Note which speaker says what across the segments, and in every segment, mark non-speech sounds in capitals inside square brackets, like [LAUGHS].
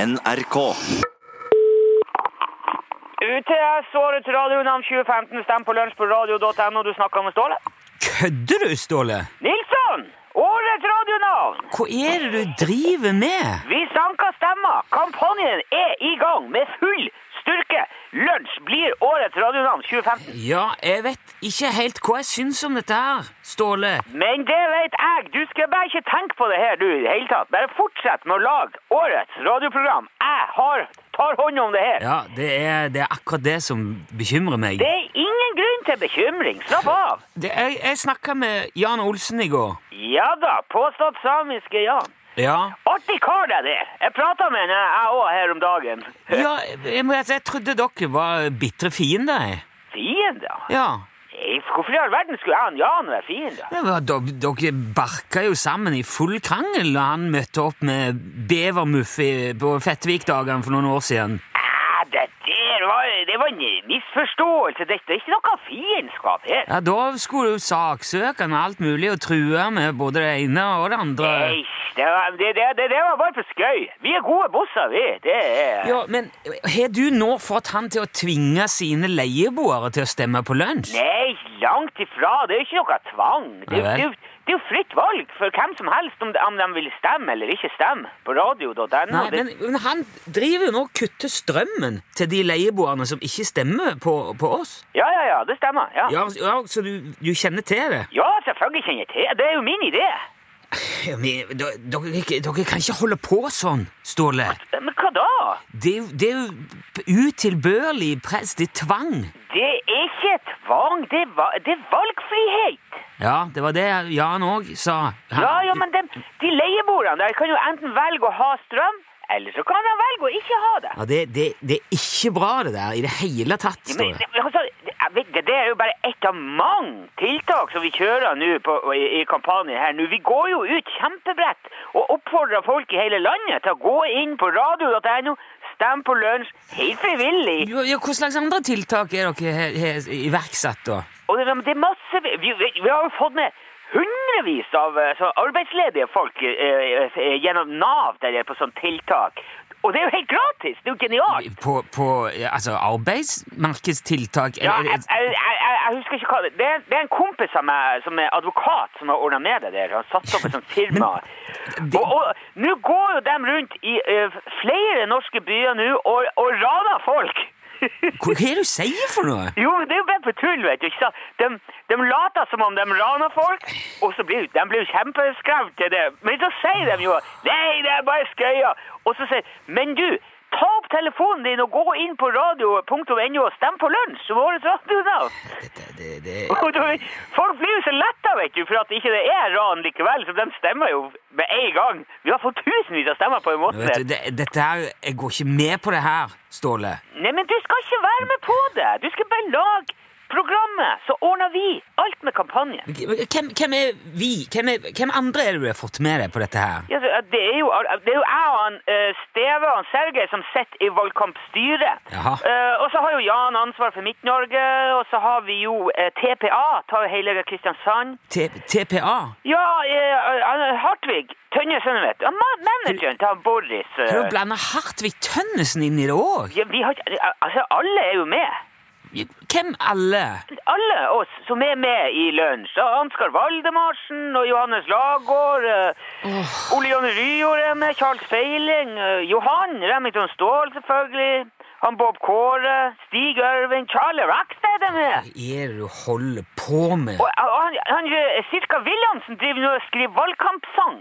Speaker 1: NRK.
Speaker 2: UTS, årets radionavn 2015. Stem på lunsj på radio.no. Du snakker med Ståle.
Speaker 3: Kødder du, Ståle?
Speaker 2: Nilsson! Årets radionavn!
Speaker 3: Hva er det du driver med?
Speaker 2: Vi sanker stemmer. Kampanjen er i gang med full styrke. Lunsj blir årets radionavn 2015.
Speaker 3: Ja, jeg vet ikke helt hva jeg syns om dette her, Ståle.
Speaker 2: Men det vet jeg. Du skal bare ikke tenke på det her, du, i det hele tatt. Bare fortsett med å lage årets radioprogram. Jeg har, tar hånd om det her.
Speaker 3: Ja, det er, det er akkurat det som bekymrer meg.
Speaker 2: Det er ingen grunn til bekymring. Slapp av.
Speaker 3: Det, jeg jeg snakka med Jan Olsen i går.
Speaker 2: Ja da, påstått samiske Jan.
Speaker 3: Ja.
Speaker 2: Artig kar det der. Jeg prata med henne, jeg òg, her om dagen.
Speaker 3: ja jeg, må si, jeg trodde dere var bitre fiender. jeg.
Speaker 2: Fiender?
Speaker 3: Ja.
Speaker 2: Nei, Hvorfor i all verden skulle jeg og Jan være fiender?
Speaker 3: Det var, dere, dere barka jo sammen i full krangel da han møtte opp med Bevermuff i- på Fettvik-dagene for noen år siden.
Speaker 2: Nei, det der var, det var en misforståelse. Dette er ikke noe fiendskap her.
Speaker 3: Ja, Da skulle du saksøke han med alt mulig og true med både det ene og det andre.
Speaker 2: Nei, det, var- det, det, det, det var bare for skøy. Vi er gode bosser, vi. Det er
Speaker 3: Ja, men Har du nå fått han til å tvinge sine leieboere til å stemme på lunsj?
Speaker 2: Nei, langt ifra. Det er ikke noe tvang. Det,
Speaker 3: Nei vel.
Speaker 2: det, er jo- det er jo fritt valg for hvem som helst om de, om de vil stemme eller ikke stemme på radio.no.
Speaker 3: Nei,
Speaker 2: Det-
Speaker 3: men, men han driver jo nå og kutter strømmen til de leieboerne som ikke stemmer på, på oss.
Speaker 2: Ja, ja, ja, det stemmer. Ja.
Speaker 3: Ja, ja Så du, du kjenner til det?
Speaker 2: Ja, selvfølgelig kjenner jeg til. Det er jo min idé.
Speaker 3: Ja, men, dere, dere dere kan ikke holde på sånn, Ståle.
Speaker 2: Men hva da?
Speaker 3: Det, er jo- det er jo utilbørlig press. Det er tvang.
Speaker 2: Det er ikke tvang, det er, va det er valgfrihet.
Speaker 3: Ja, det var det Jan òg sa. Han-
Speaker 2: Ja, ja, men de, de leieboerne der kan jo enten velge å ha strøm, eller så kan de velge å ikke ha det.
Speaker 3: Ja, det, det, det er ikke bra, det der, i det hele tatt.
Speaker 2: Men,
Speaker 3: Ståle.
Speaker 2: det, altså, det, jeg vet, det, det er jo bare ett av mange tiltak som vi kjører nå på- i, i kampanjen her. Nå, vi går jo ut kjempebrett og oppfordrer folk i hele landet til å gå inn på radio.no, stemme på lunsj, helt frivillig.
Speaker 3: Ja, ja, Hva slags andre tiltak er dere har har iverksatt, da?
Speaker 2: Og det, men det er masse vi, vi, vi har jo fått med hundrevis av eh, sånn arbeidsledige folk eh, eh, eh, gjennom Nav der på sånn tiltak. Og det er jo helt gratis! Det er jo genialt!
Speaker 3: På, på ja, altså, arbeidsmarkedstiltak?
Speaker 2: Ja,
Speaker 3: eller-
Speaker 2: jeg, jeg, jeg, jeg- jeg husker ikke hva det det er. Det er en kompis av meg som er advokat som har ordna med det der. Han satt opp et [LAUGHS] sånt firma.
Speaker 3: det-
Speaker 2: Og og nå går jo de rundt i eh, flere norske byer nå og, og raner folk! [LAUGHS]
Speaker 3: Hva hva er det du sier for noe?
Speaker 2: Jo, men det er jo bare på tull, vet du. ikke sant? De, de later som om de raner folk, og så blir de blir jo kjempeskremt til det. Men så sier de jo Nei, det er bare skøyer. Og så sier Men du, ta opp telefonen din og gå inn på radio.no og stem på lunsj som årets radionavn.
Speaker 3: Det, det, det.
Speaker 2: [LAUGHS] Og da- Folk blir jo så letta, vet du, for at ikke det er ran likevel. Så de stemmer jo med en gang. Vi har fått tusenvis av stemmer på en måte.
Speaker 3: Vet du, det, dette her, Jeg går ikke med på det her, Ståle.
Speaker 2: Nei, men du skal ikke være med på det. Du skal bare lage programmet, så ordner vi alt med kampanjen.
Speaker 3: Hvem, hvem er vi? Hvem, er, hvem andre er det du har fått med deg på dette her?
Speaker 2: Ja, så, ja, det, er jo, det er jo jeg og han, eh, Steve og han Sergej som sitter i valgkampstyret.
Speaker 3: Jaha.
Speaker 2: Eh, og så har jo Jan ansvar for Midt-Norge, og så har vi jo eh, TPA, tar jo hele Kristiansand.
Speaker 3: T TPA?
Speaker 2: Ja, eh, han- Hartvig, Tønnesen, vet du. Han ma- Manageren til han Boris. eh.
Speaker 3: Har du blanda Hartvig Tønnesen inn i det òg?
Speaker 2: ja, vi har, ikke- altså, alle er jo med.
Speaker 3: Hvem alle?
Speaker 2: Alle oss som er med i lunsj. Ja, Ansgar Valdemarsen og Johannes Lagård. eh, Ole Jonny Ryår er med. Charles Feiling. eh, Johan Remington Ståhl, selvfølgelig. Han Bob Kåre. Stig Ørving. Charlie Rackstead er med.
Speaker 3: Hva er det du holder på med?
Speaker 2: Og, og han, han eh, Sirka Williamsen driver nå og skriver valgkampsang.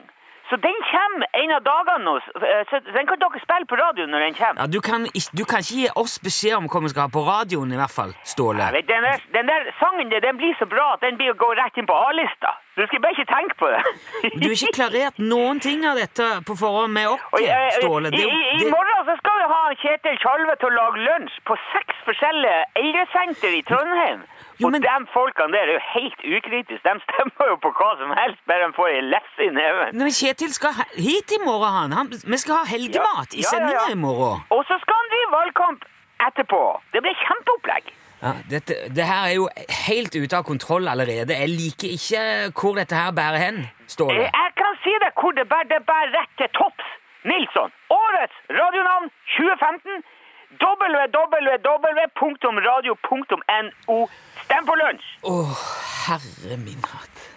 Speaker 2: Så den kommer en av dagene nå. så- eh, Så den kan dere spille på radioen når den kommer.
Speaker 3: Ja, du, kan ikke, du kan ikke gi oss beskjed om hva vi skal ha på radioen, i hvert fall, Ståle.
Speaker 2: Jeg vet, Den der, den der sangen der, den blir så bra at den blir å gå rett inn på A-lista. Du skal bare ikke tenke på det.
Speaker 3: Du har ikke klarert noen ting av dette på forhånd med oss,
Speaker 2: Og, eh,
Speaker 3: Ståle. Det,
Speaker 2: i,
Speaker 3: er
Speaker 2: i,
Speaker 3: jo-
Speaker 2: I
Speaker 3: det,
Speaker 2: morgen så skal vi ha Kjetil Tjalve til å lage lunsj på seks forskjellige eldresenter i Trondheim.
Speaker 3: Jo, men-
Speaker 2: Og de folkene der er jo helt ukritiske. De stemmer jo på hva som helst, bare de får ei lefse i neven.
Speaker 3: Nei, men Kjetil skal he- hit i morgen, han. han vi skal ha helgemat i
Speaker 2: Ja, ja, ja, ja.
Speaker 3: sendinga i morgen.
Speaker 2: Og så skal han drive valgkamp etterpå. Det blir kjempeopplegg.
Speaker 3: Ja, dette, det her er jo helt ute av kontroll allerede. Jeg liker ikke hvor dette her bærer hen,
Speaker 2: Eh,
Speaker 3: Ståle.
Speaker 2: Jeg kan si deg hvor det bærer. Det bærer rett til topps. Nilsson. Årets radionavn 2015. www.radio.no. Stem på lunsj!
Speaker 3: Å, herre min hatt.